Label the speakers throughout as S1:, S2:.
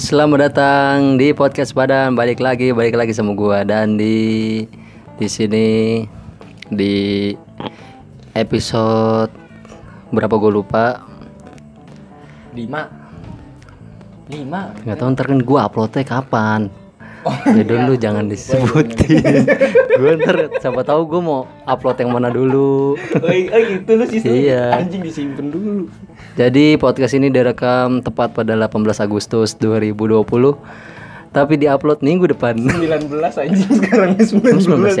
S1: Selamat datang di podcast Badan. Balik lagi, balik lagi sama gua dan di di sini di episode berapa gua lupa.
S2: lima lima
S1: Enggak tahu ntar kan gua uploadnya kapan. ya dulu jangan disebutin. gua ntar siapa tahu gua mau upload yang mana dulu.
S2: Oi, oi, itu lu sih
S1: Iya.
S2: anjing disimpan dulu
S1: Jadi podcast ini direkam tepat pada 18 Agustus 2020 tapi diupload minggu depan.
S2: 19 anjing sekarang 19,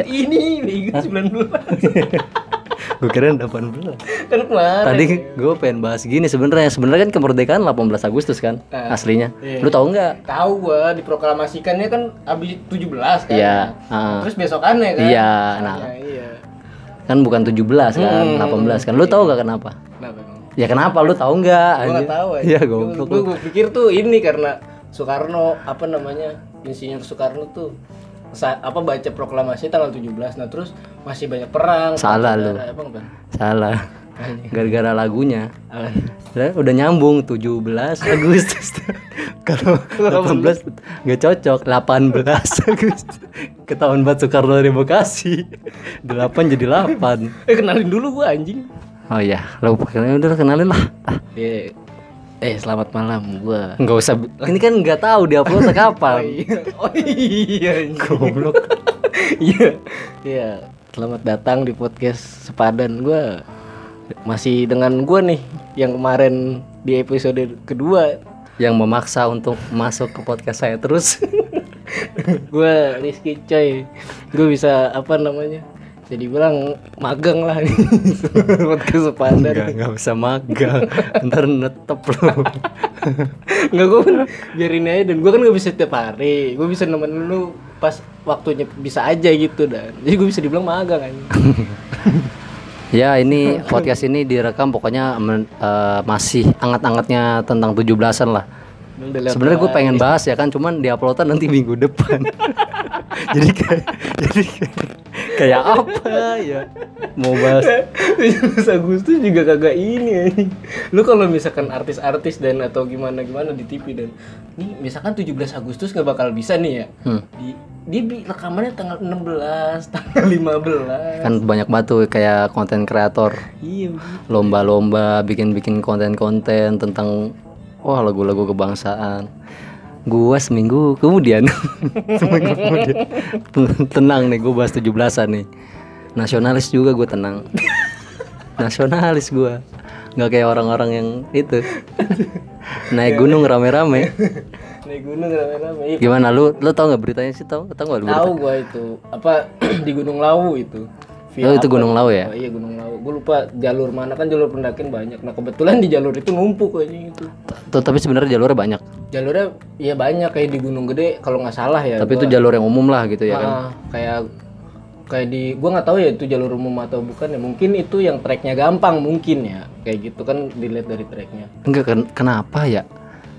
S1: 19 ya?
S2: ini ingat 19
S1: Gue kira 18.
S2: kan kemarin
S1: Tadi gue pengen bahas gini sebenarnya. Sebenarnya kan kemerdekaan 18 Agustus kan
S2: Eh,
S1: aslinya.
S2: iya.
S1: Lu tahu nggak?
S2: tahu gua diproklamasikannya kan abis 17 kan
S1: Iya, ah.
S2: terus besokannya kan
S1: Iya, nah.
S2: Iya, iya
S1: Kan bukan 17 kan,
S2: Hmm.
S1: 18 kan. Lu tahu nggak kenapa?
S2: kenapa emang
S1: Ya kenapa lu tahu nggak?
S2: gua nggak tahu anjing.
S1: Iya
S2: Gua-
S1: goblok.
S2: gua, gua pikir tuh ini karena Soekarno apa namanya Insinyur Soekarno tuh sa- apa baca proklamasi tanggal 17 nah terus masih banyak perang
S1: Salah lu.
S2: Apa, apa?
S1: Salah.
S2: Anjing.
S1: Gara-gara lagunya.
S2: Apa?
S1: Lah, udah nyambung 17 Agustus. Kalau 18 nggak cocok, 18 Agustus. Ketahuan banget Soekarno dari Bekasi. 8 jadi 8.
S2: Eh kenalin dulu gua anjing.
S1: Oh iya, lu kenalin udah kenalin lah.
S2: Eh, eh selamat malam gua.
S1: Enggak usah. Ini kan nggak tahu dia upload kapan.
S2: iya. Oh iya. anjing.
S1: Goblok.
S2: Iya. Iya. Selamat datang di podcast Sepadan gua. Masih dengan gua nih yang kemarin di episode kedua
S1: Yang memaksa untuk masuk ke podcast saya terus.
S2: gua Rizky Coy. Gua bisa apa namanya? Jadi bilang magang lah nih
S1: Enggak,
S2: podcast Sepadan.
S1: enggak bisa magang. Ntar netep lu.
S2: Enggak gua pun biarin aja dan gua kan gak bisa tiap hari. Gua bisa nemenin lu pas waktunya bisa aja gitu dan. Jadi gua bisa dibilang magang kan.
S1: Ya, ini podcast ini direkam pokoknya men- eh, masih angat-angatnya tentang 17-an lah. Sebenarnya gue pengen bahas ya kan, cuman diuploadan nanti minggu depan. jadi kayak jadi kayak, kayak apa ya? Mau bahas
S2: 17 Agustus juga kagak ini anjing. Lu kalau misalkan artis-artis dan atau gimana-gimana di TV dan nih misalkan 17 Agustus nggak bakal bisa nih ya. Di dia bi- rekamannya tanggal 16, tanggal 15.
S1: kan banyak batu kayak konten kreator.
S2: Iya.
S1: lomba-lomba bikin-bikin konten-konten tentang wah lagu-lagu kebangsaan gua seminggu kemudian seminggu kemudian tenang nih gua bahas 17-an nih nasionalis juga gua tenang nasionalis gua nggak kayak orang-orang yang itu naik gunung rame-rame
S2: Naik gunung rame-rame. Iya,
S1: gimana lu lu tau nggak beritanya sih tau tau nggak lu berita?
S2: Tahu gua itu. Apa di Gunung Lawu itu. Via
S1: Oh, itu
S2: apa?
S1: Gunung Lawu ya?
S2: Oh, iya Gunung Lawu. Gue lupa jalur mana kan jalur pendakian banyak. Nah kebetulan di jalur itu numpuk anjing itu.
S1: Tuh, tapi sebenarnya jalurnya banyak
S2: Jalurnya ya banyak kayak di Gunung Gede kalau nggak salah ya.
S1: tapi itu jalur yang umum lah gitu ya kan
S2: Ah, kayak kayak di gua nggak tahu ya itu jalur umum atau bukan ya mungkin itu yang treknya gampang mungkin ya kayak gitu kan dilihat dari treknya
S1: Enggak ken- kenapa ya?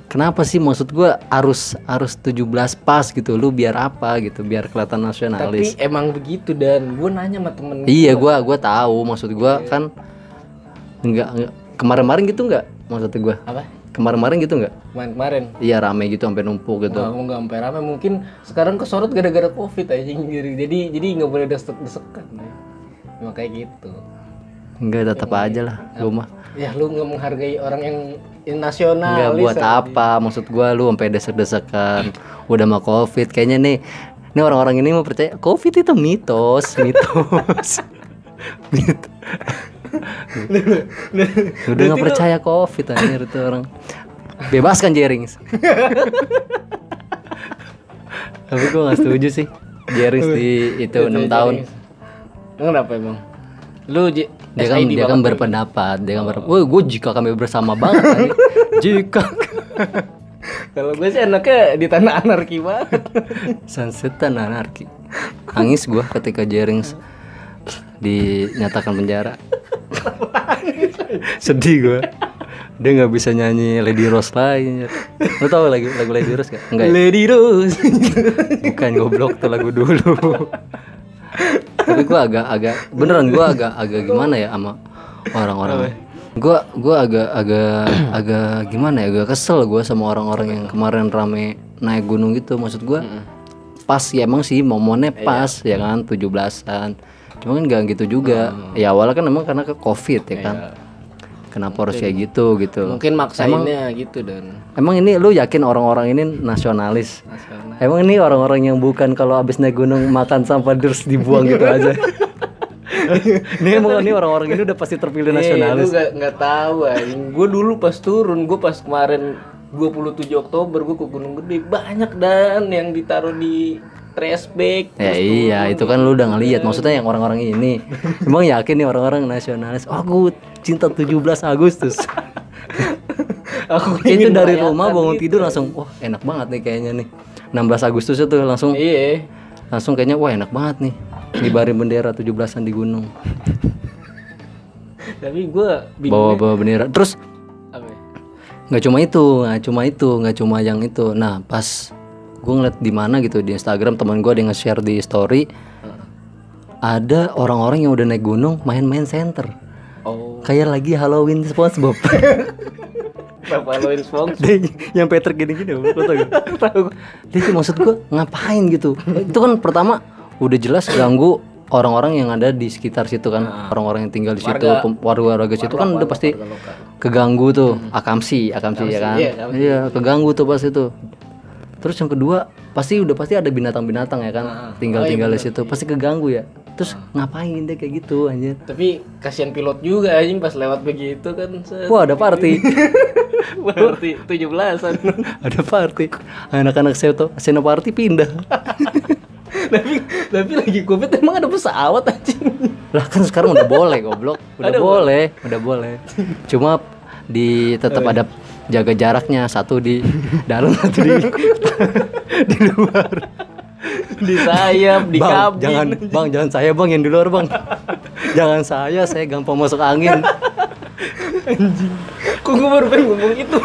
S1: Kenapa sih maksud gua harus harus 17 pas gitu lu biar apa gitu biar kelihatan nasionalis.
S2: tapi emang begitu dan gua nanya sama temen
S1: iya gua gua tahu maksud gua kan enggak, enggak- kemarin-kemarin gitu enggak maksud gua.
S2: apa
S1: Kemarin-kemarin gitu enggak?
S2: kemarin kemarin
S1: Iya rame gitu sampai numpuk gitu.
S2: nggak mau nggak sampai rame mungkin sekarang kesorot gara-gara covid aja jadi jadi jadi nggak boleh desek desekan ya. Emang kayak gitu
S1: Enggak tetap aja lah gua mah.
S2: ya lu nggak menghargai orang yang yang nasionalis
S1: Enggak buat
S2: ah.
S1: apa maksud gua lu sampai desek-desekan udah mah covid kayaknya nih nih orang-orang ini mau percaya covid itu mitos mitos mitos udah nggak percaya covid anjir itu orang bebaskan Jerings tapi gua nggak setuju sih Jerings di itu enam tahun
S2: kenapa emang lu J-
S1: dia kan dia kan berpendapat dia kan berpendapat gue jika kami bersama banget tadi. jika
S2: Kalau gue sih anaknya di tanah anarki banget.
S1: Sunsetan anarki. Nangis gua ketika Jerings dinyatakan penjara. Sedih gua. Dia nggak bisa nyanyi Lady Rose lain. Lo tau lagu lagu Lady Rose gak? Enggak. ya?
S2: Lady Rose.
S1: Bukan goblok tuh lagu dulu. Tapi gua agak agak beneran gua agak agak gimana ya sama orang-orang Gua gua agak agak agak gimana ya? Agak kesel gua sama orang-orang yang kemarin rame naik gunung gitu. Maksud gua pas ya emang sih momennya pas ya kan 17-an. Cuma kan nggak gitu juga. Ya awalnya kan emang karena ke Covid ya kan. Kenapa harus kayak gitu gitu.
S2: Mungkin maksainnya gitu dan
S1: Emang ini lu yakin orang-orang ini nasionalis?
S2: nasional.
S1: Emang ini orang-orang yang bukan kalau abis naik gunung makan sampah terus dibuang gitu aja. ini emang ini orang-orang ini udah pasti terpilih nasionalis.
S2: Gue gak, Eh, nggak tahu anjing. Gue dulu pas turun, gue pas kemarin 27 Oktober gue ke Gunung Gede banyak dan yang ditaruh di trash bag.
S1: Ya iya, itu kan lu udah ngeliat. Maksudnya yang orang-orang ini emang yakin nih orang-orang nasionalis. Oh, gue cinta 17 Agustus.
S2: Aku
S1: itu
S2: ingin
S1: dari
S2: bayangkan
S1: rumah bangun
S2: gitu.
S1: tidur langsung, wah enak banget nih kayaknya nih. 16 Agustus itu langsung
S2: Iya.
S1: langsung kayaknya wah enak banget nih. Ngibarin bendera 17-an di gunung.
S2: Tapi gue bingung.
S1: Bawa-bawa bendera. Terus
S2: Apa ya?
S1: nggak cuma itu nggak cuma itu nggak cuma yang itu nah pas gue ngeliat di mana gitu di Instagram teman gue ada yang nge-share di story ada orang-orang yang udah naik gunung main-main center
S2: Oh,
S1: kayak lagi Halloween SpongeBob
S2: Bapak Loin Spong.
S1: dia yang Patrick gini-gini kan? lo tau gak? dia tuh maksud gue ngapain gitu itu kan pertama udah jelas ganggu orang-orang yang ada di sekitar situ kan orang-orang yang tinggal di situ
S2: Warga.
S1: pem- warga-warga situ kan udah pasti
S2: Warga lokal.
S1: keganggu tuh akamsi, akamsi ya kan
S2: iya,
S1: iya, keganggu tuh pas itu terus yang kedua pasti udah pasti ada binatang-binatang ya kan tinggal-tinggal di situ pasti keganggu ya terus ngapain deh kayak gitu anjir
S2: Tapi kasihan pilot juga anjing pas lewat begitu kan. set.
S1: wah ada party
S2: Berarti 17-an.
S1: ada party anak-anak seto seno party pindah
S2: tapi tapi lagi Covid emang ada pesawat anjing.
S1: lah kan sekarang udah boleh goblok udah boleh udah boleh cuma di tetap ada jaga jaraknya satu di dalam satu di di luar
S2: di sayap, di
S1: bang,
S2: kabin.
S1: jangan bang jangan saya bang yang di luar bang jangan saya saya gampang masuk angin
S2: Kok gue baru pengen ngomong itu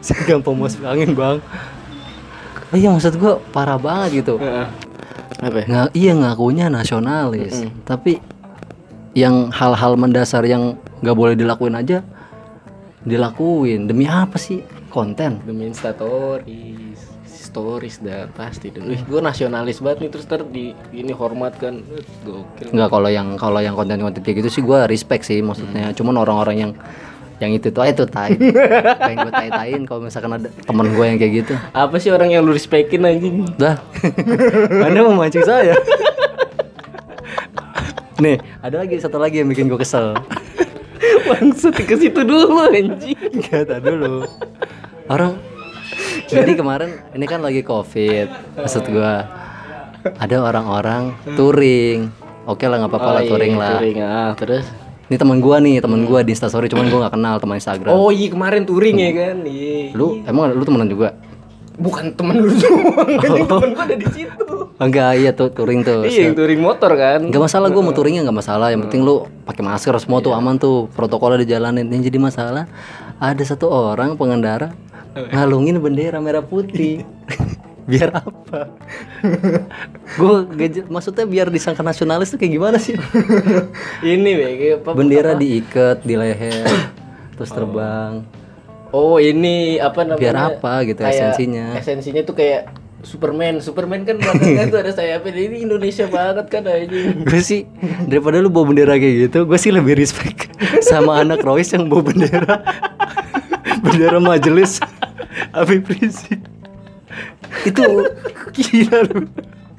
S1: saya gampang masuk angin bang iya maksud gua parah banget gitu
S2: Apa ya?
S1: Nga, iya ngakunya nasionalis tapi yang hal-hal mendasar yang nggak boleh dilakuin aja dilakuin demi apa sih konten
S2: Demi instastories Stories dah pasti dan Wih gue nasionalis banget nih terus ter di ini hormat kan Eh, Gokil
S1: nggak kalau yang kalau yang konten-konten kayak gitu sih gua respect sih maksudnya cuman orang-orang yang yang itu tuh "Ah, itu tai pengen gue tai-tain kalau misalkan ada temen gue yang kayak gitu
S2: Apa sih orang yang lu respectin anjing?
S1: Dah. Anda memancing saya. Nih, ada lagi satu lagi yang bikin gue kesel.
S2: Maksud ke situ dulu anjing
S1: Enggak, tar dulu. Orang jadi kemarin ini kan lagi Covid. Maksud gua ada orang-orang
S2: Hmm.
S1: touring. Oke lah nggak apa-apa lah
S2: iya,
S1: touring lah.
S2: Oh, Touring ah terus
S1: Ini teman gua nih, teman gua di Instastory cuman gua nggak kenal teman Instagram.
S2: Oh iya kemarin touring ya kan Iya
S1: Lu emang lu temenan juga?
S2: Bukan temen lu doang anjing temen gue ada di situ
S1: Enggak, iya tuh touring tuh.
S2: Iya yang touring motor kan
S1: Gak masalah gue mau touringnya gak masalah Yang penting lu pakai masker semua tuh aman tuh Protokolnya dijalanin Yang jadi masalah Ada satu orang pengendara Ngalungin bendera merah putih Biar apa? gue maksudnya biar disangka nasionalis tuh kayak gimana sih?
S2: Ini bege apa
S1: Bendera diikat di leher Terus terbang
S2: Oh ini apa namanya?
S1: Biar apa gitu esensinya.
S2: Esensinya tuh kayak Superman. Superman kan belakangnya tuh ada sayapnya. Jadi Ini Indonesia banget kan aja.
S1: Gue sih daripada lu bawa bendera kayak gitu Gue sih lebih respect sama anak Royce yang bawa bendera Bendera majelis Habib Rizik itu gila lu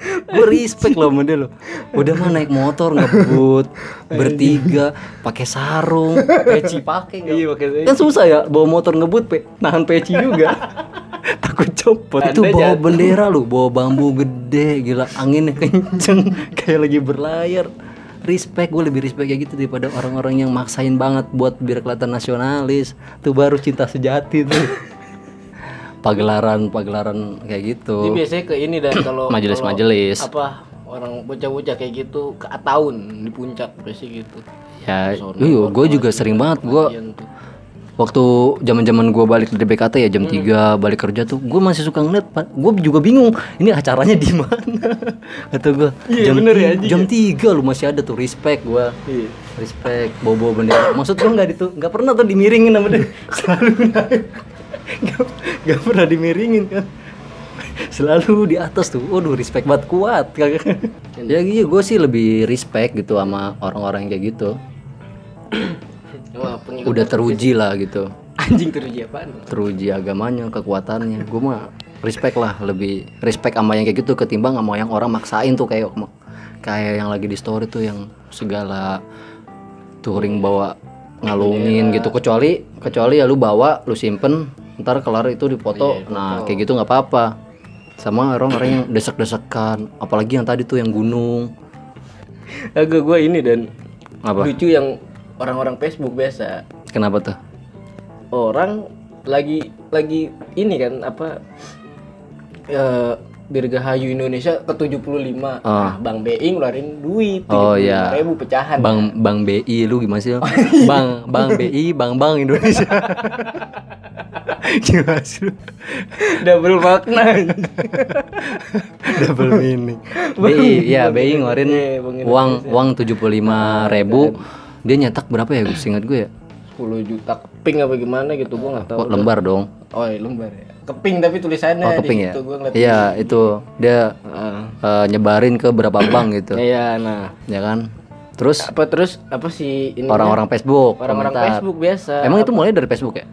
S1: gue respect loh sama dia lo udah mah naik motor ngebut bertiga pakai sarung peci pakai nggak?
S2: Iya, pakai peci.
S1: kan susah ya bawa motor ngebut pe nahan peci juga takut copot itu
S2: Anda
S1: bawa
S2: jatuh.
S1: bendera lu bawa bambu gede gila anginnya kenceng kayak lagi berlayar respect gue lebih respect kayak gitu daripada orang-orang yang maksain banget buat biar kelihatan nasionalis tuh baru cinta sejati tuh pagelaran pagelaran kayak
S2: Jadi
S1: gitu
S2: biasanya ke ini dan kalau
S1: Majelis-majelis.
S2: kalau apa orang bocah-bocah kayak gitu ke tahun di puncak biasanya gitu.
S1: ya iya gue juga sering banget gue
S2: Yang tuh.
S1: waktu zaman-zaman gua balik dari BKT ya jam
S2: Hmm.
S1: 3 balik kerja tuh gua masih suka ngeliat Pak. gua juga bingung ini acaranya di mana kata gua
S2: Iya,
S1: jam
S2: bener ya,
S1: ti-
S2: anjing
S1: jam 3 lu masih ada tuh respect gua
S2: Iya.
S1: respect bobo bendera maksud gua nggak itu nggak pernah tuh dimiringin sama dia selalu naik Nggak- nggak pernah dimiringin kan selalu di atas tuh waduh respect banget kuat ya iya gue sih lebih respect gitu sama orang-orang yang kayak gitu
S2: Wah, pengikut
S1: udah teruji lah gitu
S2: anjing teruji apaan?
S1: teruji agamanya kekuatannya gue mah respect lah lebih respect sama yang kayak gitu ketimbang sama yang orang maksain tuh kayak kayak yang lagi di story tuh yang segala touring bawa ngalungin gitu kecuali kecuali ya lu bawa lu simpen ntar kelar itu dipoto nah kayak gitu nggak apa-apa sama orang-orang yang desek-desekan apalagi yang tadi tuh yang gunung
S2: Agak gue ini dan
S1: Apa?
S2: lucu yang orang-orang Facebook biasa.
S1: kenapa tuh
S2: Orang lagi lagi ini kan apa eh Dirgahayu Indonesia ke 75. Nah, Bang Being ngeluarin duit
S1: Ah. Oh,
S2: 35.000
S1: iya.
S2: ribu pecahan.
S1: Bang Bang BI lu gimana sih? Bang Bang BI Bang Bang Indonesia. gimana sih lu?
S2: Double makna.
S1: Double meaning. BI ya BI ngeluarin
S2: Iya, Bang Indonesia. Ah, iya,
S1: uang uang 75 ribu. Dia nyetak berapa ya? Gue ingat gue ya.
S2: 10 juta keping apa gimana gitu gue nggak tahu.
S1: Kok lembar dong.
S2: Oh, iya, lembar ya. Keping tapi tulisannya
S1: Oh,
S2: di
S1: keping ya.
S2: situ gua ngeliat.
S1: Iya, itu dia eh, nyebarin ke berapa bank gitu,
S2: Iya, nah.
S1: ya kan? Terus
S2: Apa terus apa sih ini ya?
S1: orang-orang Facebook
S2: orang-orang
S1: komentar.
S2: Facebook biasa.
S1: Emang itu mulai dari Facebook ya?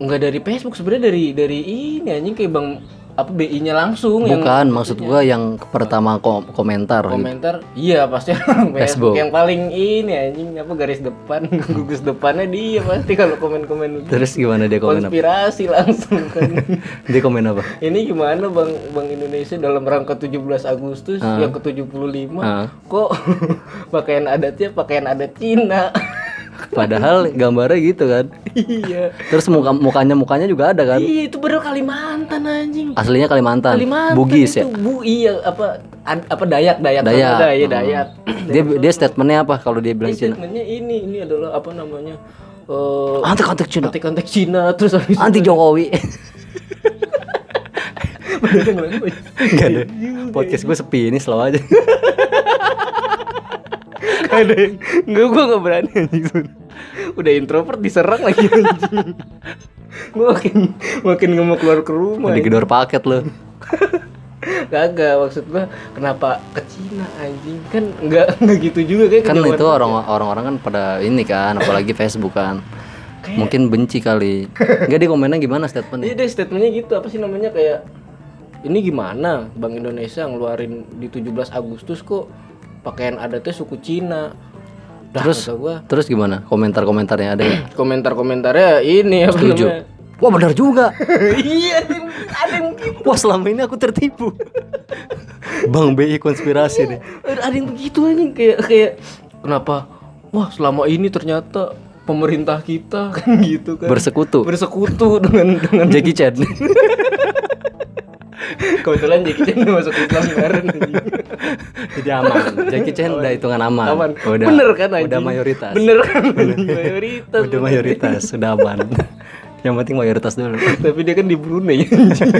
S2: nggak dari Facebook sebenarnya dari dari ini anjing kayak Bang apa BI-nya langsung ya. yang iya.
S1: Bukan, maksud gua yang pertama kom- komentar gitu.
S2: komentar. Iya, pasti orang
S1: Facebook.
S2: Facebook. Yang paling ini anjing apa garis depan, gugus depannya dia pasti kalau komen-komen gitu.
S1: Terus gimana dia komen apa?
S2: konspirasi langsung kan.
S1: Dia komen apa?
S2: ini gimana Bang Bang Indonesia dalam rangka 17 Agustus yang ke-75
S1: Ah.
S2: kok pakaian adatnya pakaian adat Cina.
S1: Padahal gambarnya gitu kan.
S2: iya.
S1: Terus muka mukanya mukanya juga ada kan.
S2: Iya, itu baru Kalimantan anjing.
S1: Aslinya Kalimantan,
S2: Kalimantan
S1: Bugis ya.
S2: itu Bu iya apa ad- apa Dayak Dayak
S1: Dayak.
S2: Ada, iya,
S1: Hmm.
S2: Dayak.
S1: Dia dia statementnya apa kalau dia bilang Cina?
S2: Statementnya ini ini adalah apa namanya eh
S1: Anti kontak Cina,
S2: kontak-kontak Cina terus habis
S1: anti Jokowi. Enggak ada. Podcast gue sepi ini selalu aja.
S2: ada yang enggak gua enggak berani anjing sebenernya. udah introvert diserang lagi anjing gua makin makin nggak mau keluar ke rumah anjing.
S1: Digedor paket lo.
S2: kagak maksud gua kenapa ke Cina anjing kan enggak enggak gitu juga kayak
S1: Kan
S2: kejauhan.
S1: itu orang orang-orang kan pada ini kan, apalagi Facebook kan. Mungkin benci kali. Enggak dia komennya gimana statementnya?
S2: Iya deh statementnya gitu apa sih namanya kayak ini gimana Bank Indonesia ngeluarin di 17 Agustus kok pakaian adatnya suku Cina. Terus gua
S1: Terus gimana? Komentar-komentarnya ada nggak?
S2: komentar-komentarnya ini apa
S1: Setuju.
S2: namanya?
S1: Wah benar juga.
S2: iya, ada yang- ada yang gitu. begitu.
S1: Wah selama ini aku tertipu Bang BI konspirasi nih
S2: Er, Ada yang begitu anjing kayak kayak kenapa? Wah, selama ini ternyata pemerintah kita kan gitu kan.
S1: Bersekutu
S2: bersekutu dengan dengan
S1: Jackie Chan
S2: kebetulan Jackie Chan udah masuk Islam kemarin anjing.
S1: Jadi aman Jackie Chan udah hitungan aman,
S2: aman.
S1: Udah,
S2: bener kan anjing?
S1: Udah mayoritas
S2: Bener kan anjing? mayoritas.
S1: Udah mayoritas Udah aman Yang penting mayoritas dulu
S2: Tapi dia kan di Brunei anjing.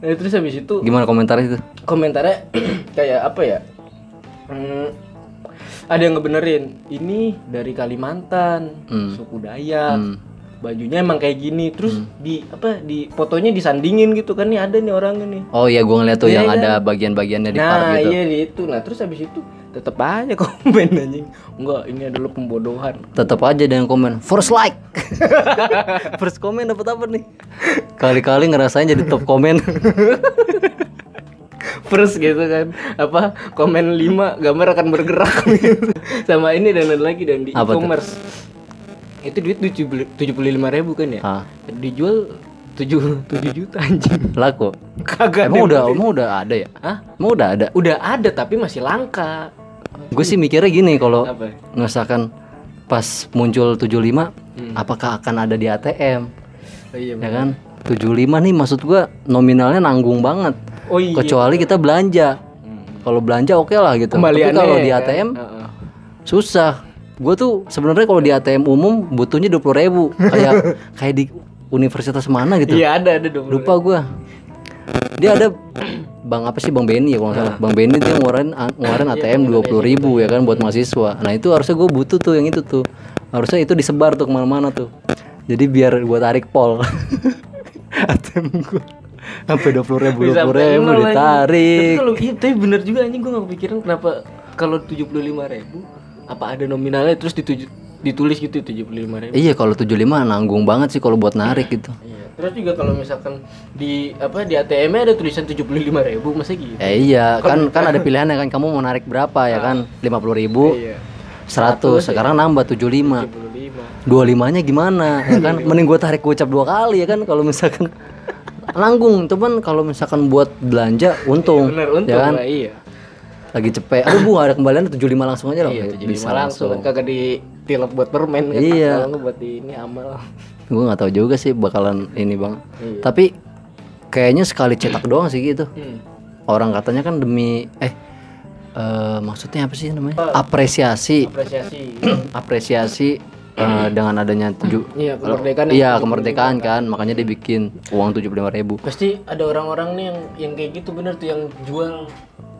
S2: nah, terus habis itu
S1: Gimana komentarnya itu?
S2: komentarnya kayak apa ya? Hmm, ada yang ngebenerin. Ini dari Kalimantan,
S1: Hmm.
S2: suku Dayak. Bajunya emang kayak gini. Terus di apa di fotonya disandingin gitu kan nih ada nih orangnya nih.
S1: Oh iya gue ngeliat tuh
S2: Iya,
S1: yang
S2: iya.
S1: ada bagian-bagiannya di part
S2: Nah
S1: gitu
S2: iya itu Nah terus habis itu tetep aja komen anjing Enggak ini adalah pembodohan
S1: Tetap aja ada yang komen First like First komen dapat apa nih? Kali-kali ngerasain jadi top komen
S2: First gitu kan apa komen 5 gambar akan bergerak gitu. sama ini dan ada lagi dan di
S1: Apa tuh?
S2: e-commerce itu duit tujuh puluh lima ribu kan ya
S1: Ah,
S2: dijual tujuh tujuh juta anjing
S1: Laku
S2: kagak
S1: Emang
S2: deh.
S1: udah, emang udah ada ya?
S2: Hah?
S1: Emang udah ada?
S2: udah ada tapi masih langka
S1: Gue sih mikirnya gini kalau
S2: apa
S1: misalkan pas muncul 75 apakah akan ada di ATM
S2: oh iya
S1: ya kan 75 nih maksud gua nominalnya nanggung banget
S2: oh iya
S1: kecuali kita belanja kalau belanja oke lah gitu tapi
S2: Kembaliannya kan?
S1: kalau di
S2: ya kan?
S1: ATM
S2: Heeh.
S1: susah gue tuh sebenarnya kalau di ATM umum butuhnya dua puluh ribu kayak kayak di universitas mana gitu
S2: Iya ada ada dong.
S1: lupa gua dia ada bang apa sih bang Benny ya kalau nggak salah bang Benny dia ngeluarin ngeluarin
S2: Iya,
S1: ATM dua puluh ribu ya kan buat mahasiswa nah itu harusnya gue butuh tuh yang itu tuh harusnya itu disebar tuh kemana-mana tuh jadi biar gua tarik pol ATM gua sampai dua puluh ribu dua
S2: Bisa
S1: puluh
S2: sampai
S1: ribu
S2: nol, anjing. Tapi
S1: ditarik
S2: kalau iya, tapi bener juga anjing gue gak kepikiran kenapa kalau tujuh puluh lima ribu apa ada nominalnya terus dituju, ditulis gitu tujuh puluh lima ribu.
S1: iya kalau 75 nanggung banget sih kalau buat narik gitu
S2: Iya. Terus juga kalau misalkan di apa di ATM ada tulisan tujuh puluh lima ribu masa gitu.
S1: ya iya kan kan ada pilihannya kan kamu mau narik berapa ya kan lima puluh ribu
S2: Iya.
S1: seratus sekarang nambah 75
S2: Tujuh puluh lima.
S1: dua limanya gimana ya kan mending gue tarik gocap dua kali ya kan kalau misalkan nanggung cuman kalau misalkan buat belanja untung
S2: Bener untung
S1: ya kan
S2: lah, iya.
S1: lagi cepet aduh bu nggak ada kembalian 75 langsung aja lah
S2: Iya, tujuh
S1: bisa
S2: langsung. Kagak ditilep buat permen kan.
S1: Iya.
S2: Kalau nggak buat di ini amal.
S1: gue nggak tahu juga sih bakalan ini bang
S2: Iya.
S1: tapi kayaknya sekali cetak doang sih gitu
S2: Hmm.
S1: orang katanya kan demi eh eh, maksudnya apa sih namanya
S2: Eh.
S1: apresiasi
S2: Apresiasi.
S1: apresiasi eh, dengan adanya tujuh
S2: Iya, kemerdekaan yang
S1: iya kemerdekaan kan makanya dia bikin uang 75.000 ribu
S2: Pasti ada orang-orang nih yang yang kayak gitu bener tuh yang jual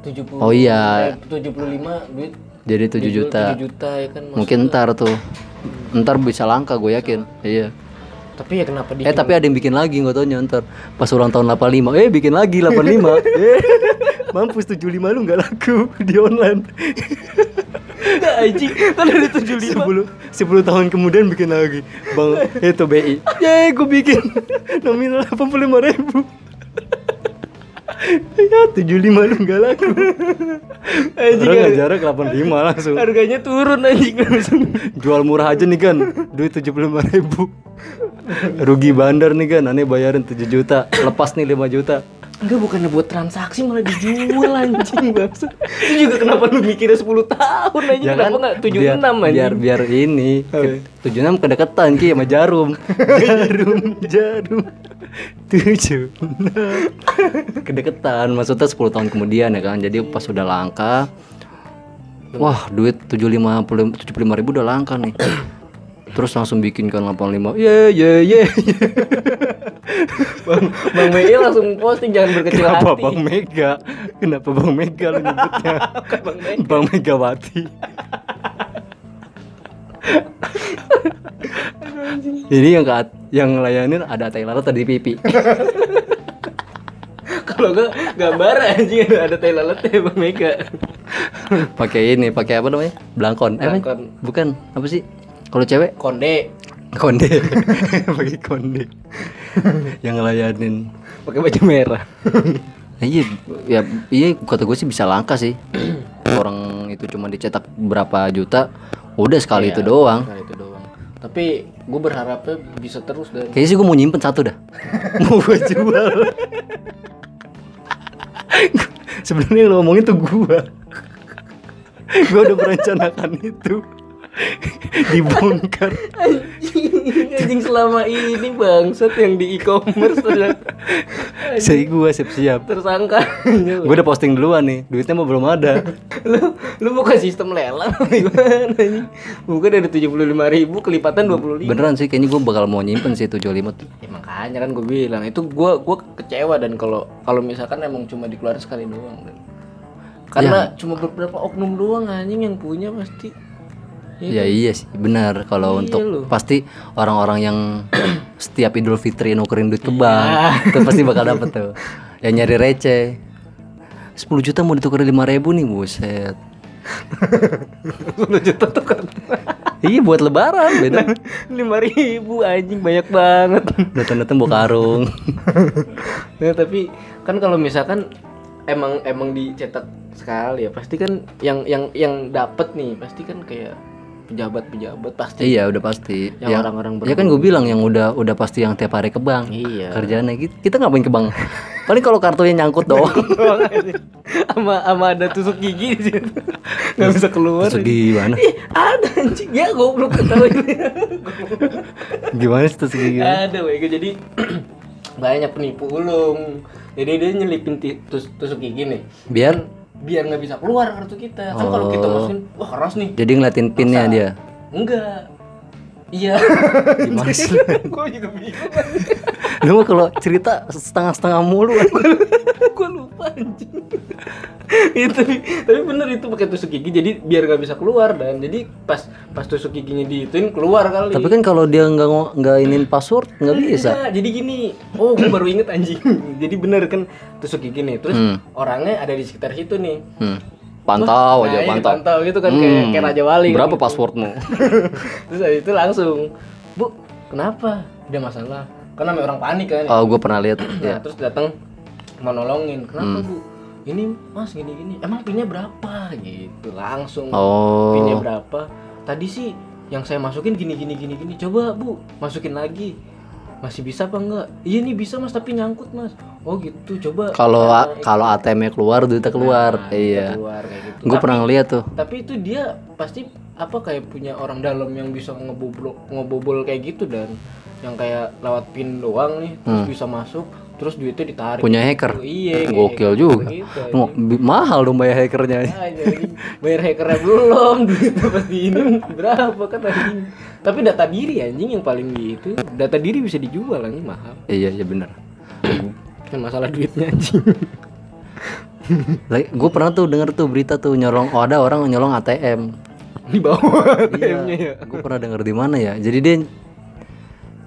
S2: 70
S1: Oh iya.
S2: eh, 75 duit
S1: jadi 7 juta
S2: 7 juta ya kan. Mas.
S1: mungkin ntar tuh ntar bisa langka gue yakin iya
S2: Tapi ya kenapa di
S1: eh tapi ada yang bikin lagi nggak taunya ntar pas ulang tahun 85 eh bikin lagi 85 eh, mampus 75 lu nggak laku di online
S2: enggak anjing? Kan dari 75.
S1: 10 10 tahun kemudian bikin lagi bang itu BI ya gue bikin nominal 85 ribu ya 75 lu nggak laku Eh,
S2: Anjing
S1: orang
S2: harga-
S1: jarak 85 langsung
S2: harganya turun anjing langsung.
S1: jual murah aja nih kan duit 75.000 ribu rugi bandar nih kan aneh bayarin 7 juta lepas nih 5 juta
S2: Enggak bukannya buat transaksi malah dijual anjing maksud. Itu juga kenapa lu mikirnya 10 tahun anjing? kenapa enggak
S1: Ya
S2: 76
S1: kan? biar,
S2: anjing?
S1: biar biar ini
S2: Apa?
S1: 76 kedekatan Ki sama jarum jarum jarum 76 kedekatan maksudnya 10 tahun kemudian ya kan jadi pas sudah langka wah duit 75 75 ribu udah langka nih terus langsung bikin kan 85 ye ye ye
S2: Bang, Bang BI langsung posting jangan berkecil hati.
S1: Kenapa Bang Mega? Kenapa Bang Mega lu nyebutnya?
S2: Kan Bang Mega.
S1: Bang Megawati. Ini yang ke yang ngelayanin ada Taylor tadi pipi.
S2: Kalau enggak gambar anjing ada, ada tai lalat ya Bang Mega.
S1: Pakai ini, pakai apa namanya? Blangkon. Eh,
S2: Blangkon.
S1: bukan. Apa sih? Kalau cewek
S2: Konde
S1: konde. pakai konde. yang ngelayanin.
S2: pakai baju merah.
S1: Nah, Iya, ya, iya kata gue sih bisa langka sih. Orang itu cuma dicetak berapa juta, udah sekali itu doang.
S2: Nah, itu doang. Tapi gue berharapnya bisa terus dan
S1: Kayaknya sih gue mau nyimpen satu dah. mau gue jual. Sebenarnya yang lo ngomongin tuh gue. gue udah merencanakan itu. Dibongkar.
S2: anjing, anjing selama ini bangsat yang di e-commerce terus
S1: Saya gue siap-siap.
S2: tersangka.
S1: Gue udah posting duluan nih. Duitnya mah belum ada.
S2: lu lu buka sistem lelang apa gimana anjing? Buka dari 75.000 ribu kelipatan 25
S1: Beneran sih kayaknya gue bakal mau nyimpen sih 75 tuh.
S2: Ya makanya kan gue bilang itu gua gua kecewa dan kalau kalau misalkan emang cuma dikeluarin sekali doang. Dan. Karena cuma beberapa oknum doang anjing yang punya pasti.
S1: Ya iya sih, benar kalau untuk
S2: loh.
S1: pasti orang-orang yang setiap Idul Fitri nukerin duit
S2: Iya.
S1: ke bank, itu pasti bakal dapet tuh. Yang nyari receh. 10 juta mau ditukar 5 ribu nih, buset.
S2: 10 juta Nah. tuh kan.
S1: iya buat lebaran beda.
S2: 5 ribu anjing banyak banget.
S1: Datang-datang bawa karung.
S2: Nah, tapi kan kalau misalkan emang emang dicetak sekali ya pasti kan yang yang yang dapat nih pasti kan kayak pejabat-pejabat pasti.
S1: iya, udah pasti.
S2: Yang orang-orang
S1: Ya kan gue bilang yang udah udah pasti yang tiap hari ke bank.
S2: Iya.
S1: Kerjaannya gitu. Kita ngapain ke bank? Paling kalau kartunya nyangkut doang.
S2: Sama sama ada tusuk gigi di situ. Nggak bisa keluar.
S1: Terus gimana?
S2: Ih, ada anjing ya goblok tahu ini.
S1: Gimana sih gitu? terus gimana?
S2: ada wega jadi banyak penipu ulung jadi dia nyelipin ti- tus- tusuk gigi nih
S1: Biar
S2: biar nggak bisa keluar kartu kita kan kalau kita masukin wah keras nih
S1: jadi ngeliatin pinnya dia.
S2: enggak iya
S1: Gimana sih?
S2: gue juga bingung
S1: Lu mah kalau cerita setengah-setengah mulu
S2: gue lupa anjing Iya, tapi tapi bener itu pakai tusuk gigi jadi biar nggak bisa keluar dan jadi pas pas tusuk giginya diituin keluar kali
S1: Tapi kan kalau dia nggak ngo- nggak ingin password nggak bisa
S2: Enggak, jadi gini oh gue baru inget anjing jadi bener kan tusuk gigi nih terus
S1: Hmm.
S2: orangnya ada di sekitar situ nih
S1: hmm. Pantau aja
S2: Nah, iya,
S1: pantau
S2: dipantau gitu kan kayak,
S1: Hmm.
S2: kayak raja wali kan
S1: Berapa
S2: gitu.
S1: passwordmu?
S2: terus habis itu langsung bu kenapa ada masalah karena namanya orang panik kan
S1: Oh gue pernah lihat
S2: Nah,
S1: ya.
S2: terus datang mau nolongin
S1: Hmm.
S2: kenapa bu ini mas gini gini emang pinnya berapa gitu langsung pinnya
S1: Oh
S2: berapa tadi sih yang saya masukin gini gini gini gini coba bu masukin lagi masih bisa apa enggak iya nih bisa mas tapi nyangkut mas oh gitu coba
S1: kalau
S2: Nah,
S1: kalau ATM-nya keluar duitnya keluar
S2: nah,
S1: iya
S2: keluar kayak gitu.
S1: gue
S2: Tapi-
S1: pernah lihat tuh
S2: tapi itu dia pasti apa kayak punya orang dalam yang bisa ngebobol ngebobol kayak gitu dan yang kayak lewat pin doang nih terus bisa masuk terus duitnya ditarik
S1: Hmm. punya hacker
S2: Oh, iya kayak
S1: gokil
S2: gitu,
S1: juga
S2: gitu,
S1: Mau- bi- mahal dong bayar hackernya
S2: Ah, jadi bayar hackernya belum duitnya pasti ini berapa kan anjing tapi data diri anjing yang paling di itu data diri bisa dijual anjing mahal
S1: iya iya bener
S2: kan masalah duitnya anjing
S1: gue pernah tuh denger tuh berita tuh nyolong oh, ada orang nyolong ATM
S2: di
S1: Iya.
S2: bawah ATM-nya ya
S1: gue pernah denger di mana ya jadi dia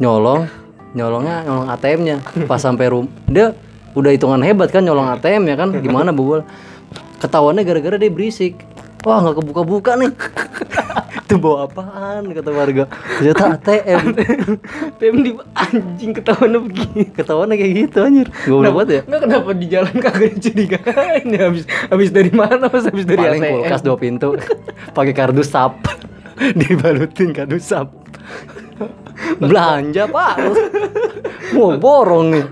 S1: nyolong nyolongnya nyolong ATM-nya pas sampai rum dia udah hitungan hebat kan nyolong ATM ya kan gimana bobol ketahuannya gara-gara dia berisik wah nggak kebuka-buka nih itu bawa apaan kata warga ternyata ATM
S2: ATM di anjing ketahuan begini
S1: ketahuannya kayak gitu anjir gue
S2: Nah,
S1: banget ya
S2: Nggak kenapa di jalan kagak dicurigain ya habis habis dari mana pas habis dari
S1: paling
S2: ATM.
S1: kulkas dua pintu pakai kardus sap dibalutin kardus sap belanja pak mau borong nih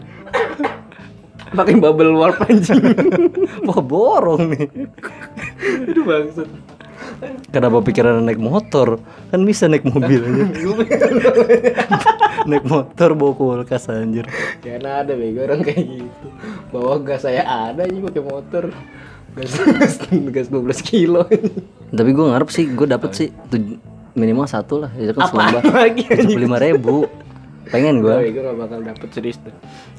S2: Pakai bubble wrap anjing.
S1: Wah borong nih
S2: Aduh bangsat.
S1: Kenapa pikiran naik motor Kan bisa naik mobil aja Naik motor bawa kulkas anjir
S2: ya nah ada bego orang kayak gitu. Bawa gas saya ada anjing pakai motor. Gas gas, gas 12 kilo.
S1: Tapi gue ngarep sih Gue dapet sih tuj- Minimal satu lah Itu kan
S2: Apaan
S1: selamba
S2: lagi anjing?
S1: 75 ribu Pengen
S2: Gue
S1: gue
S2: bego gak bakal dapet serius tuh.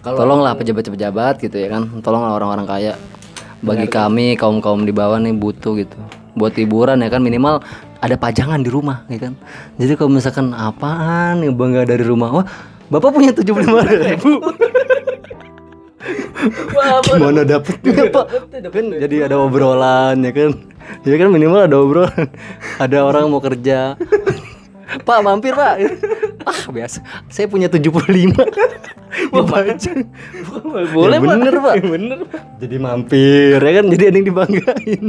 S2: Kalau
S1: Tolonglah pejabat-pejabat gitu ya kan Tolonglah orang-orang kaya Bagi kami kaum-kaum di bawah nih butuh gitu Buat hiburan ya kan minimal ada pajangan di rumah ya kan Jadi kalau misalkan apaan yang bangga dari rumah Wah bapak punya 75 ribu
S2: wah apa
S1: gimana dapetnya pak kan jadi ada obrolan ya kan ya kan minimal ada obrolan ada orang mau kerja pak mampir pak ah biasa saya punya 75 dibaca
S2: boleh
S1: Ya bener, Pak.
S2: Ya, bener Pak.
S1: jadi mampir ya kan jadi ada yang dibanggain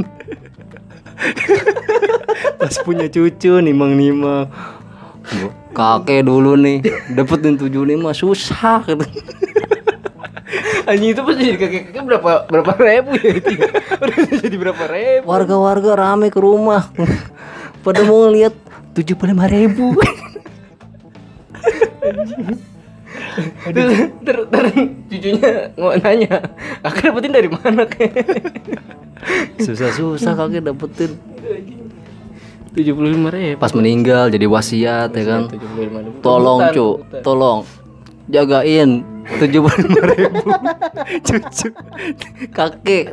S1: pas punya cucu nimang nimang kakek dulu nih dapetin 75 susah
S2: Anjing itu pasti jadi kakek kakek berapa berapa ribu ya itu. ya? Udah jadi berapa ribu.
S1: warga-warga rame ke rumah pada mau ngeliat 75 ribu
S2: Terus ter, ter, cucunya mau nanya, kakak dapetin dari mana kek?
S1: susah-susah kakek dapetin
S2: Tujuh puluh lima ribu.
S1: pas meninggal jadi wasiat ya kan
S2: Tujuh puluh lima ribu.
S1: tolong
S2: Hutan,
S1: cu
S2: hutan.
S1: tolong jagain 75 ribu cucu kakek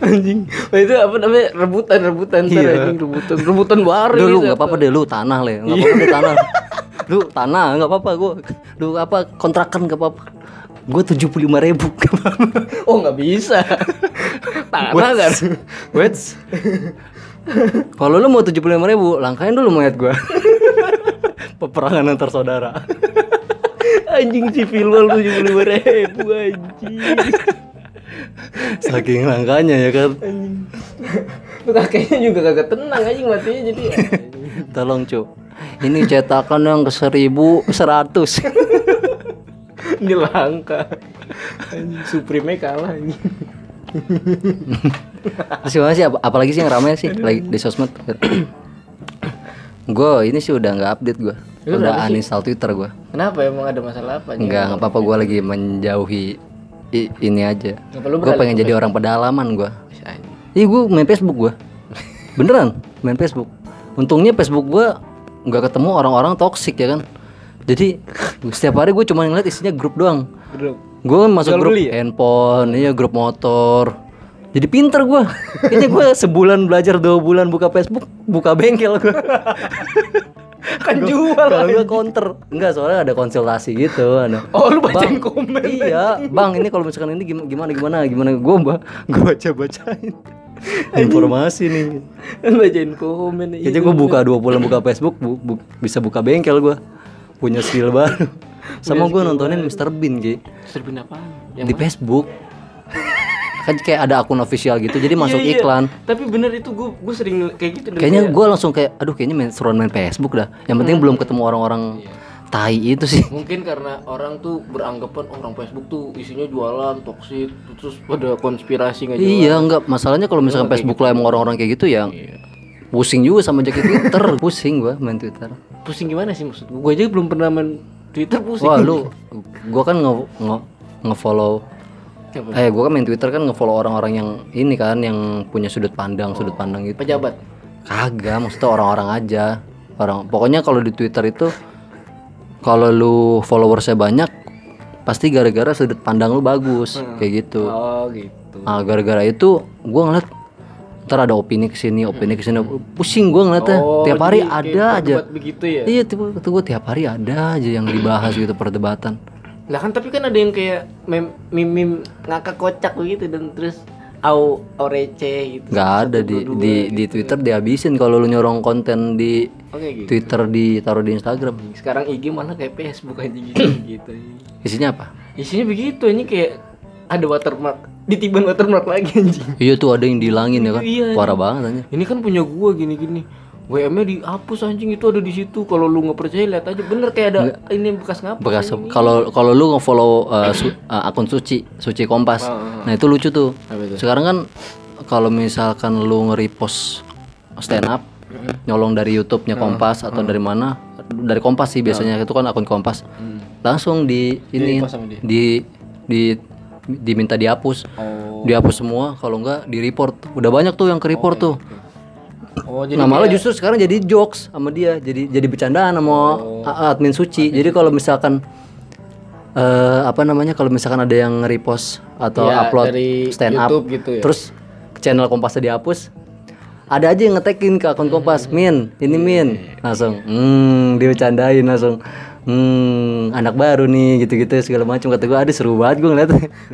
S2: Anjing, Wah, itu apa namanya rebutan rebutan ntar
S1: Iya.
S2: anjing rebutan rebutan baru.
S1: Udah, lu nggak apa-apa deh lu tanah le nggak apa-apa deh, tanah lu tanah nggak apa-apa gua lu apa kontrakan nggak apa-apa gue tujuh puluh lima ribu
S2: Oh nggak bisa. Tanah kan.
S1: Wait. Kalau lu mau 75 ribu, langkain dulu mayat gua. Peperangan antar saudara.
S2: Anjing civil war tujuh puluh lima ribu anjing.
S1: Saking langkanya ya kan.
S2: Anjing. Lu kakeknya juga kagak tenang anjing matinya jadi. anjing.
S1: Tolong cu. Ini cetakan yang ke seribu seratus.
S2: Ini langka. Anjing Supreme kalah anjing.
S1: Masih masih apa, apalagi sih yang ramai sih lagi di sosmed. gue ini sih udah nggak update gue.
S2: Lu
S1: Udah uninstall Twitter gue.
S2: Kenapa emang ada masalah apa? anjing?
S1: Enggak, nggak apa-apa gue lagi menjauhi i- ini aja.
S2: Nggak perlu
S1: Gue pengen jadi orang pedalaman gue.
S2: berani.
S1: Ih gue main Facebook gue Beneran main Facebook untungnya Facebook gua nggak ketemu orang-orang toksik ya kan jadi setiap hari gue cuma ngeliat isinya grup doang
S2: Grup.
S1: gue kan masuk
S2: Jual
S1: grup
S2: beli ya?
S1: handphone iya grup motor jadi pinter gua kayaknya gua sebulan belajar dua bulan buka Facebook buka bengkel gue
S2: Kan jual,
S1: kalau gue counter enggak soalnya ada konsultasi gitu ada
S2: Oh, lu bacain komen.
S1: iya bang ini kalau misalkan ini gim- gimana gimana gimana gue mbak gue baca bacain informasi nih
S2: Bacain komen. iya.
S1: kayaknya gue buka dua bulan buka Facebook bu- bu- bisa buka bengkel gua punya skill baru sama gue nontonin Mr. Bean Ki
S2: Serbin apaan?
S1: di Facebook kan kayak ada akun official gitu jadi masuk
S2: Iya, iya.
S1: iklan
S2: Tapi bener itu gue gue sering kayak gitu. dan
S1: kayaknya
S2: kayak-
S1: gue langsung kayak aduh kayaknya main seruan main Facebook dah yang penting
S2: Iya.
S1: belum ketemu orang-orang tai itu sih
S2: mungkin karena orang tuh beranggapan "Oh, orang Facebook tuh isinya jualan toksik terus pada konspirasi nggak jelas.
S1: iya enggak masalahnya kalau misalkan Facebook lah emang orang-orang kayak gitu ya
S2: Iya.
S1: pusing juga sama jaket Twitter pusing gua main Twitter
S2: Pusing gimana sih maksud gue? Gue aja belum pernah main Twitter pusing.
S1: wah lu gua kan nge nge ngefollow
S2: Siapa?
S1: eh gua kan main Twitter kan ngefollow orang-orang yang ini kan yang punya sudut pandang
S2: Oh.
S1: sudut pandang gitu
S2: Pejabat.
S1: Kagak, maksudnya orang-orang aja. Orang pokoknya kalau di Twitter itu kalau lu followersnya banyak pasti gara-gara sudut pandang lu bagus kayak gitu.
S2: Oh gitu.
S1: Nah, gara-gara itu gua ngeliat ntar ada opini kesini, opini kesini, pusing gua ngeliatnya.
S2: Oh,
S1: tiap hari
S2: jadi kayak
S1: ada aja.
S2: berdebat Begitu ya.
S1: Iya, tiap itu gua tiap hari ada aja yang dibahas gitu perdebatan.
S2: Lah kan tapi kan ada yang kayak mem- mimim ngakak kocak begitu dan terus au orece gitu.
S1: Gak ada di di,
S2: ya.
S1: di Twitter dihabisin kalau lu nyorong konten di
S2: Oke gitu.
S1: Twitter ditaruh di Instagram.
S2: Sekarang IG malah kayak Facebook aja gitu gitu.
S1: Isinya apa?
S2: Isinya begitu ini kayak ada watermark, ditiban watermark lagi anjing.
S1: Iya tuh ada yang dihilangin ya kan?
S2: Iya.
S1: Parah banget anjir.
S2: Ini kan punya gua gini-gini. WM-nya dihapus anjing itu ada di situ. Kalau lu nggak percaya lihat aja bener kayak ada ini bekas ngapa?
S1: bekas kalau kalau lu ngefollow uh, su- uh, akun suci suci kompas
S2: Oh,
S1: nah itu lucu tuh sekarang kan kalau misalkan lu nge-repost stand up
S2: Mm-hmm.
S1: nyolong dari YouTube-nya kompas atau dari mana dari kompas sih biasanya itu kan akun kompas langsung di ini
S2: Mm-hmm. Di-repost sama dia?
S1: di di diminta dihapus
S2: Oh.
S1: dihapus semua kalau enggak di report udah banyak tuh yang ke report
S2: iya,
S1: tuh
S2: Oh jadi
S1: nah malah justru sekarang jadi jokes sama dia jadi jadi bercandaan sama
S2: Oh.
S1: a- admin suci jadi kalau misalkan eh apa namanya kalau misalkan ada yang repost atau
S2: Iya,
S1: upload
S2: dari
S1: stand up
S2: YouTube gitu ya.
S1: terus channel kompasnya dihapus ada aja yang ngetekin ke akun kompas
S2: Hmm.
S1: min ini
S2: Iya,
S1: min langsung hmm dia bercandain langsung hmm anak baru nih gitu-gitu segala macam kata gue ada seru banget gue ngeliat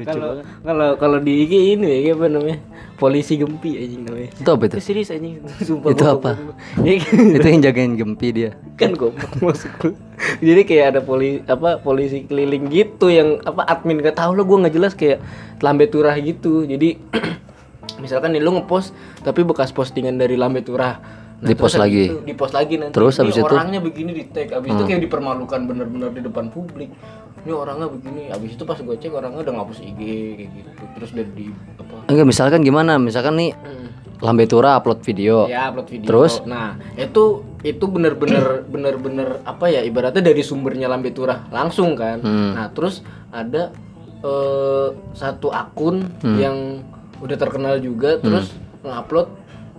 S2: kalau kalau kalau di IG ini ya kayak apa namanya? Polisi gempi anjing namanya.
S1: itu apa itu
S2: Itu serius anjing sumpah.
S1: Itu
S2: gua-
S1: apa?
S2: gua- gua- Ya kan,
S1: itu yang jagain gempi dia
S2: kan goblok maksud gua. Jadi kayak ada polisi apa polisi keliling gitu yang apa admin gak tahu lah gua nggak jelas kayak lambe turah gitu. Jadi misalkan nih lu ngepost tapi bekas postingan dari lambe turah.
S1: Dipost
S2: Nah, terus gitu. habis
S1: lagi.
S2: itu Dipost lagi nanti.
S1: Iya. Terus
S2: Ini
S1: habis itu? Hmm.
S2: orangnya begini di tag habis itu kayak dipermalukan bener-bener di depan publik. Ini orangnya begini, habis itu pas gue cek orangnya udah ngapus IG kayak gitu. Terus udah di apa?
S1: enggak misalkan gimana misalkan nih Lambe Tura upload video
S2: Ya upload video.
S1: Terus?
S2: Nah itu itu bener-bener bener-bener apa ya ibaratnya dari sumbernya Lambe Turah langsung kan.
S1: Hmm.
S2: Nah terus ada eh, satu akun
S1: Hmm.
S2: yang udah terkenal juga terus ngupload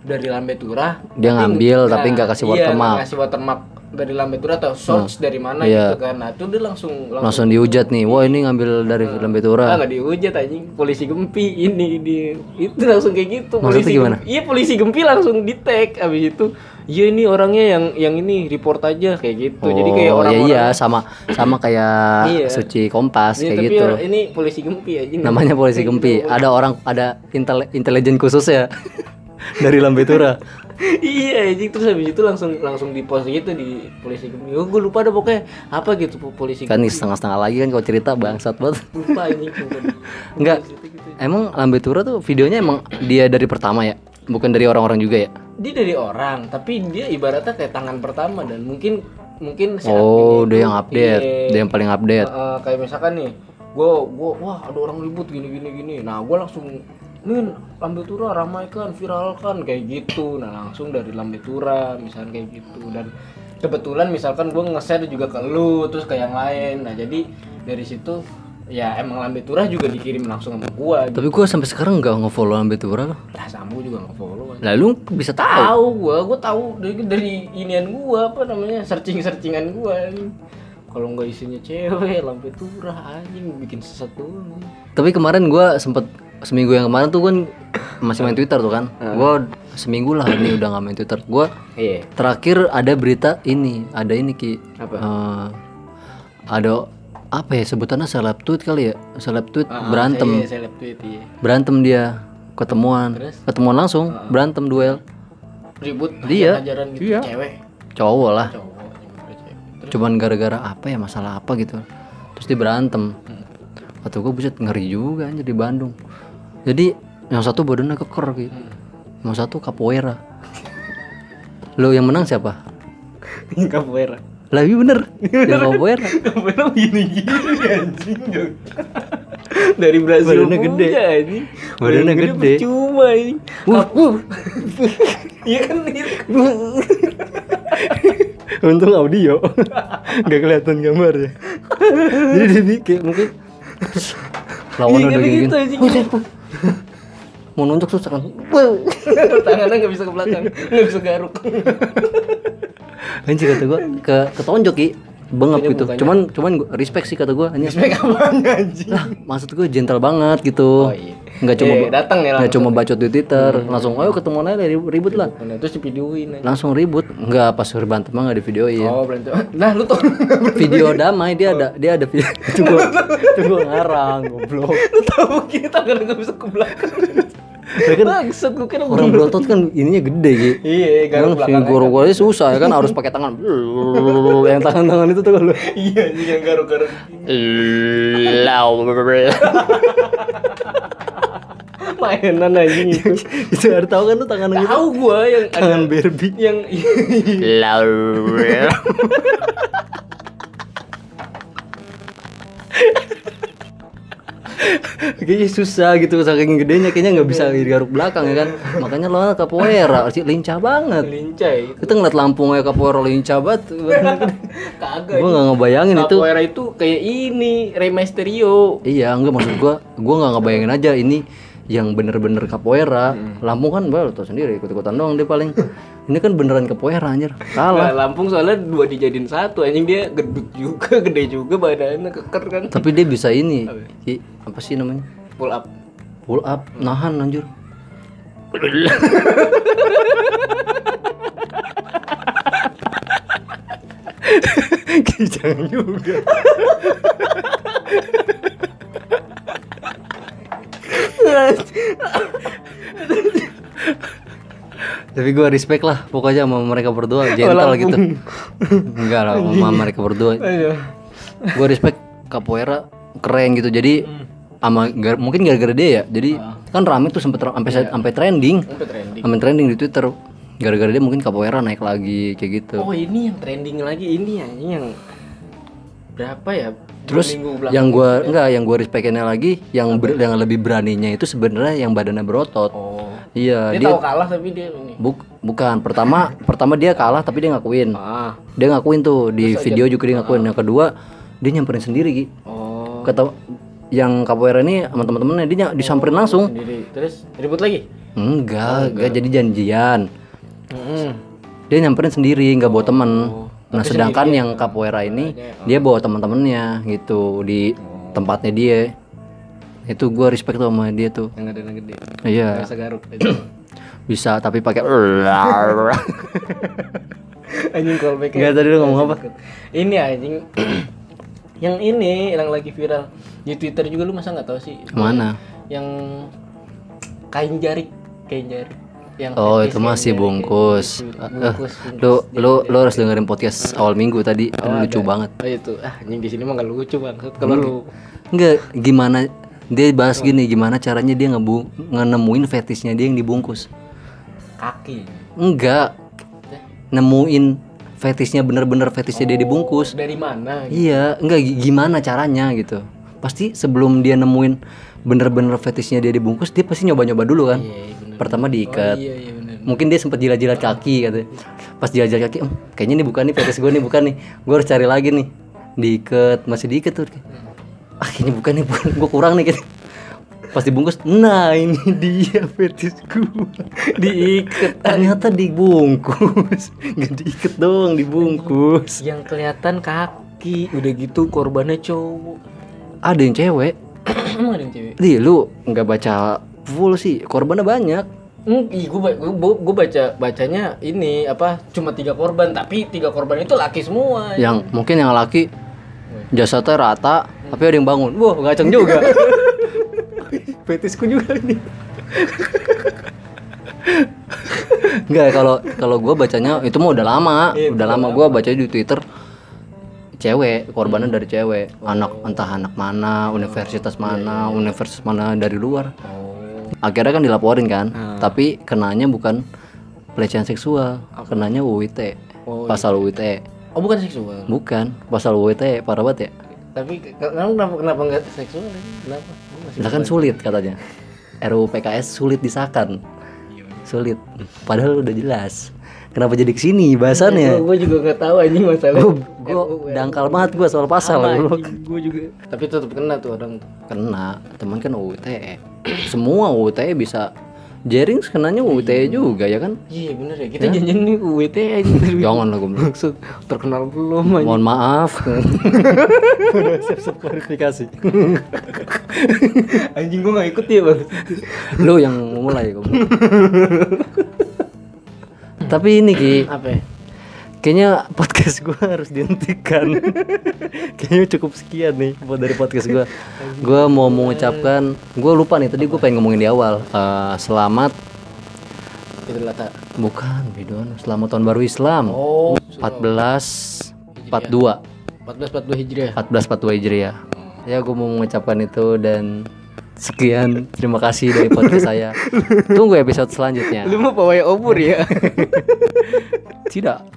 S2: dari Lambe Turah.
S1: Dia ngambil, tapi nggak kasih
S2: iya,
S1: watermark.
S2: nggak kasih watermark dari Lambe Turah atau source dari mana
S1: Iya.
S2: gitu kan. Nah itu dia langsung langsung
S1: langsung dihujat nih wah ini ngambil dari Lambe
S2: Ah,
S1: Tura
S2: nggak dihujat anjing polisi gempi ini di itu langsung kayak gitu
S1: Maksudnya
S2: polisi
S1: gimana?
S2: Gempi- iya polisi gempi langsung di tag abis itu iya ini orangnya yang yang ini report aja kayak gitu jadi kayak
S1: oh
S2: orang
S1: ya iya sama sama kayak
S2: Iya.
S1: suci kompas kayak
S2: tapi Iya,
S1: gitu
S2: orang- ini polisi gempi aja
S1: namanya polisi gempi ada orang ada intel intelijen khusus ya dari Lambe Tura
S2: iya anjing terus abis itu langsung langsung di post gitu di polisi gempi oh gue lupa ada pokoknya apa gitu po- polisi
S1: kan
S2: gempi
S1: nih setengah-setengah lagi kan kalau cerita bangsat banget
S2: lupa anjing sumpah.
S1: enggak emang Lambe Tura tuh videonya emang dia dari pertama ya bukan dari orang-orang juga ya
S2: dia dari orang tapi dia ibaratnya kayak tangan pertama dan mungkin mungkin si
S1: oh
S2: admin
S1: dia
S2: itu-
S1: yang update
S2: iya.
S1: dia yang paling update
S2: Heeh, kayak misalkan nih, gue gua wah ada orang ribut gini gini gini. Nah gue langsung Min, Lambe Tura ramaikan, viralkan kayak gitu. Nah langsung dari Lambe Tura misalkan kayak gitu dan kebetulan misalkan gue nge-share juga ke lu terus ke yang lain. Nah jadi dari situ ya emang Lambe Turah juga dikirim langsung sama gua gitu.
S1: Tapi gua sampai sekarang nggak ngefollow Lambe Tura loh.
S2: Lah Sambo juga nggak follow
S1: Lah lu bisa tahu.
S2: tahu gua gua tahu dari dari inian gua apa namanya searching searchingan gua anjing. kalau nggak isinya cewek lampu turah anjing bikin sesat tuh
S1: Tapi kemarin gua sempet seminggu yang kemarin tuh kan masih main Twitter tuh kan. Gua seminggu lah ini udah nggak main Twitter. Gua
S2: iya
S1: terakhir ada berita ini, ada ini Ki.
S2: Apa?
S1: Eh, ada apa ya sebutannya seleb tweet kali ya? Seleb tweet berantem.
S2: iya seleb tweet iya Ah.
S1: Berantem dia ketemuan. Ketemuan langsung, berantem duel.
S2: ribut
S1: Dia?
S2: ajaran gitu cewek
S1: Cowok lah.
S2: cowok anjing, udah cewek.
S1: cuman gara-gara apa ya masalah apa gitu terus dia berantem atau gue buset ngeri juga anjir di Bandung jadi yang satu badannya keker gitu yang satu capoeira lo yang menang siapa
S2: Ini capoeira
S1: lah iya bener yang capoeira
S2: capoeira begini gini anjing dong dari Brazil
S1: Badannya
S2: punya,
S1: gede.
S2: anjing.
S1: Badannya gede.
S2: percuma ini
S1: Wuh, wuh.
S2: iya kan ini
S1: untung audio nggak kelihatan gambarnya jadi dia bi- kayak mungkin lawan
S2: Iya,
S1: udah
S2: kan
S1: gini
S2: gitu, Iya, anjing.
S1: mau nunjuk susah kan
S2: tangannya nggak bisa ke belakang nggak bisa garuk
S1: anjir kata gue ke ketonjok ki bengap
S2: Mukanya-
S1: gitu
S2: mukanya.
S1: cuman cuman gua, respect sih kata gue hanya
S2: respect apaan anjing
S1: lah maksud gue gentle banget gitu
S2: Oh, iya.
S1: nggak cuma
S2: Iya, datang ya
S1: nggak
S2: langsung. Hmm.
S1: cuma bacot di twitter langsung ayo ketemuan aja ribut, ribut lah
S2: Nah, terus divideoin anjing.
S1: langsung ribut nggak pas berantem mah nggak di videoin
S2: Oh, berantem. Nah, lu tau
S1: video damai dia ada dia ada video itu gue itu gua ngarang goblok
S2: lu tau kita tangan nggak bisa ke belakang.
S1: Ya kan
S2: Bangsat gua kira
S1: orang berotot kan ininya gede gitu
S2: Iya, garuk
S1: Kan
S2: belakang.
S1: guru gua susah ya kan harus pakai tangan yang tangan-tangan itu tuh kalau
S2: Iya, anjing yang garuk-garuk. Mainan anjing itu.
S1: itu harus tahu kan tuh tangan gitu
S2: Tahu gua yang ada
S1: tangan Barbie
S2: yang
S1: Laurel. Kayaknya susah gitu saking gedenya kayaknya nggak bisa garuk belakang ya kan. Makanya lo capoeira sih lincah banget.
S2: lincah itu.
S1: Kita ngeliat Lampung ya capoeira lincah banget.
S2: Kagak.
S1: gua nggak ngebayangin itu.
S2: Capoeira itu kayak ini, Rey Mysterio.
S1: Iya, enggak maksud gua, gua nggak ngebayangin aja ini yang bener-bener capoeira. Lampung kan baru tau sendiri ikut-ikutan doang dia paling. Ini kan beneran capoeira anjir. Kalah.
S2: Nah, Lampung soalnya dua dijadiin satu anjing dia gedut juga, gede juga badannya keker kan.
S1: Tapi dia bisa ini. Ki, apa sih namanya?
S2: Pull up.
S1: Pull up, nahan anjir. Kijang juga. Tapi gua respect lah pokoknya sama mereka berdua gentle gitu. Enggak lah sama mereka berdua
S2: Aduh.
S1: gue respect capoeira keren gitu jadi
S2: Hmm.
S1: ama gar- mungkin gara-gara dia ya jadi kan rame tuh sempet ra- sampai sa- sampai trending
S2: Sampai Ah. Iya. trending.
S1: sampai trending di twitter gara-gara dia mungkin capoeira naik lagi kayak gitu
S2: Oh ini yang trending lagi ini anjing yang berapa ya? Dua
S1: terus
S2: minggu belakang. gitu ya?
S1: yang gue enggak yang gue respectnya lagi yang ber- yang lebih beraninya itu sebenarnya yang badannya berotot
S2: Oh.
S1: iya
S2: Dia,
S1: dia,
S2: tahu kalah tapi dia ini.
S1: buk- bukan pertama pertama dia kalah tapi dia ngakuin
S2: Ah.
S1: dia ngakuin tuh di video juga dia ngakuin yang kedua dia nyamperin sendiri Ki.
S2: Oh.
S1: kata yang capoeira ini sama teman-temannya dia ny- disamperin langsung
S2: Sendiri. Terus ribut lagi.
S1: Enggak, enggak jadi janjian.
S2: Heeh.
S1: Dia nyamperin sendiri, nggak bawa temen. Nah, sedangkan yang capoeira ini dia bawa teman-temannya gitu di tempatnya dia. Itu gua respect tuh sama dia tuh.
S2: Yang ada yang gede.
S1: Iya,
S2: Rasa garuk.
S1: bisa tapi pakai
S2: anjing callback. ya.
S1: Enggak tadi lu ngomong apa?
S2: Ini ya, anjing yang ini yang lagi viral di Twitter juga lu masa nggak tahu sih?
S1: Mana?
S2: Yang kain jarik, kain jarik. Yang
S1: Oh,
S2: fetish
S1: itu
S2: kain
S1: masih
S2: jarik,
S1: bungkus.
S2: kain jarik.
S1: Eh,
S2: Bungkus, bungkus.
S1: Lu lu lu harus dengerin podcast awal minggu tadi. Lucu banget.
S2: Oh itu, ah anjing di sini mah nggak lucu banget kalau lu
S1: Enggak, gimana dia bahas gini gimana caranya dia ngebu ngenemuin fetishnya dia yang dibungkus.
S2: kaki.
S1: Enggak. Nemuin fetishnya bener-bener fetishnya dia dibungkus.
S2: Dari mana?
S1: Iya, enggak gi- gimana caranya gitu. Pasti sebelum dia nemuin bener-bener fetishnya dia dibungkus, dia pasti nyoba-nyoba dulu kan.
S2: Iya, iya, bener.
S1: Pertama
S2: Oh,
S1: diikat.
S2: iya iya benar.
S1: Mungkin dia sempat jilat-jilat kaki katanya. Pas jilat-jilat kaki, "Hmm, "Em, kayaknya ini bukan nih fetish gue nih bukan nih. Gue harus cari lagi nih. Diikat, masih diikat tuh. ah ini bukan nih bukan gue kurang nih gitu pas dibungkus nah ini dia fetis gue diikat ternyata dibungkus nggak diikat dong dibungkus
S2: yang kelihatan kaki udah gitu korbannya cowok
S1: ada yang cewek
S2: emang ada yang cewek
S1: di lu nggak baca full sih korbannya banyak
S2: Hmm, ih, gue, baca bacanya ini apa cuma tiga korban tapi tiga korban itu laki semua
S1: yang mungkin yang laki jasadnya rata tapi ada yang bangun wah gaceng juga
S2: fetisku juga ini
S1: Enggak kalau kalau gue bacanya itu mah udah lama,
S2: Iya,
S1: udah
S2: udah
S1: lama gue baca di Twitter cewek korbannya dari cewek anak entah anak mana universitas mana universitas mana dari luar
S2: oh
S1: akhirnya kan dilaporin kan tapi kenanya bukan pelecehan seksual kenanya UIT
S2: Oh,
S1: pasal UIT
S2: oh bukan seksual
S1: bukan pasal UIT parah banget ya
S2: tapi ke- kamu kenapa kenapa nggak seksual kenapa Gua masih
S1: lah kan sulit katanya RUU PKS sulit disahkan
S2: Iya.
S1: sulit padahal udah jelas kenapa jadi kesini bahasannya
S2: gue juga nggak tahu anjing masalah
S1: gue dangkal banget gue soal pasal goblok.
S2: gue juga tapi tetap kena tuh orang tuh
S1: kena teman kan UTE semua UTE bisa jaring kenanya UTE juga ya kan
S2: iya bener ya kita janjian nih UWT aja
S1: jangan lah goblok
S2: maksud terkenal belum
S1: mohon maaf udah siap-siap klarifikasi
S2: anjing gue nggak ikut ya bang
S1: lu yang mulai goblok tapi ini Ki
S2: apa ya?
S1: kayaknya podcast gue harus dihentikan kayaknya cukup sekian nih buat dari podcast gue gue mau mengucapkan gue lupa nih tadi gue pengen ngomongin di awal Eh, selamat
S2: itu lata
S1: bukan bidon selamat tahun baru Islam
S2: oh
S1: 14 42
S2: 14 42 hijriah
S1: 14 42 Hijriah ya gue mau mengucapkan itu dan sekian terima kasih dari podcast saya tunggu episode selanjutnya
S2: lu mau pawai obor ya
S1: tidak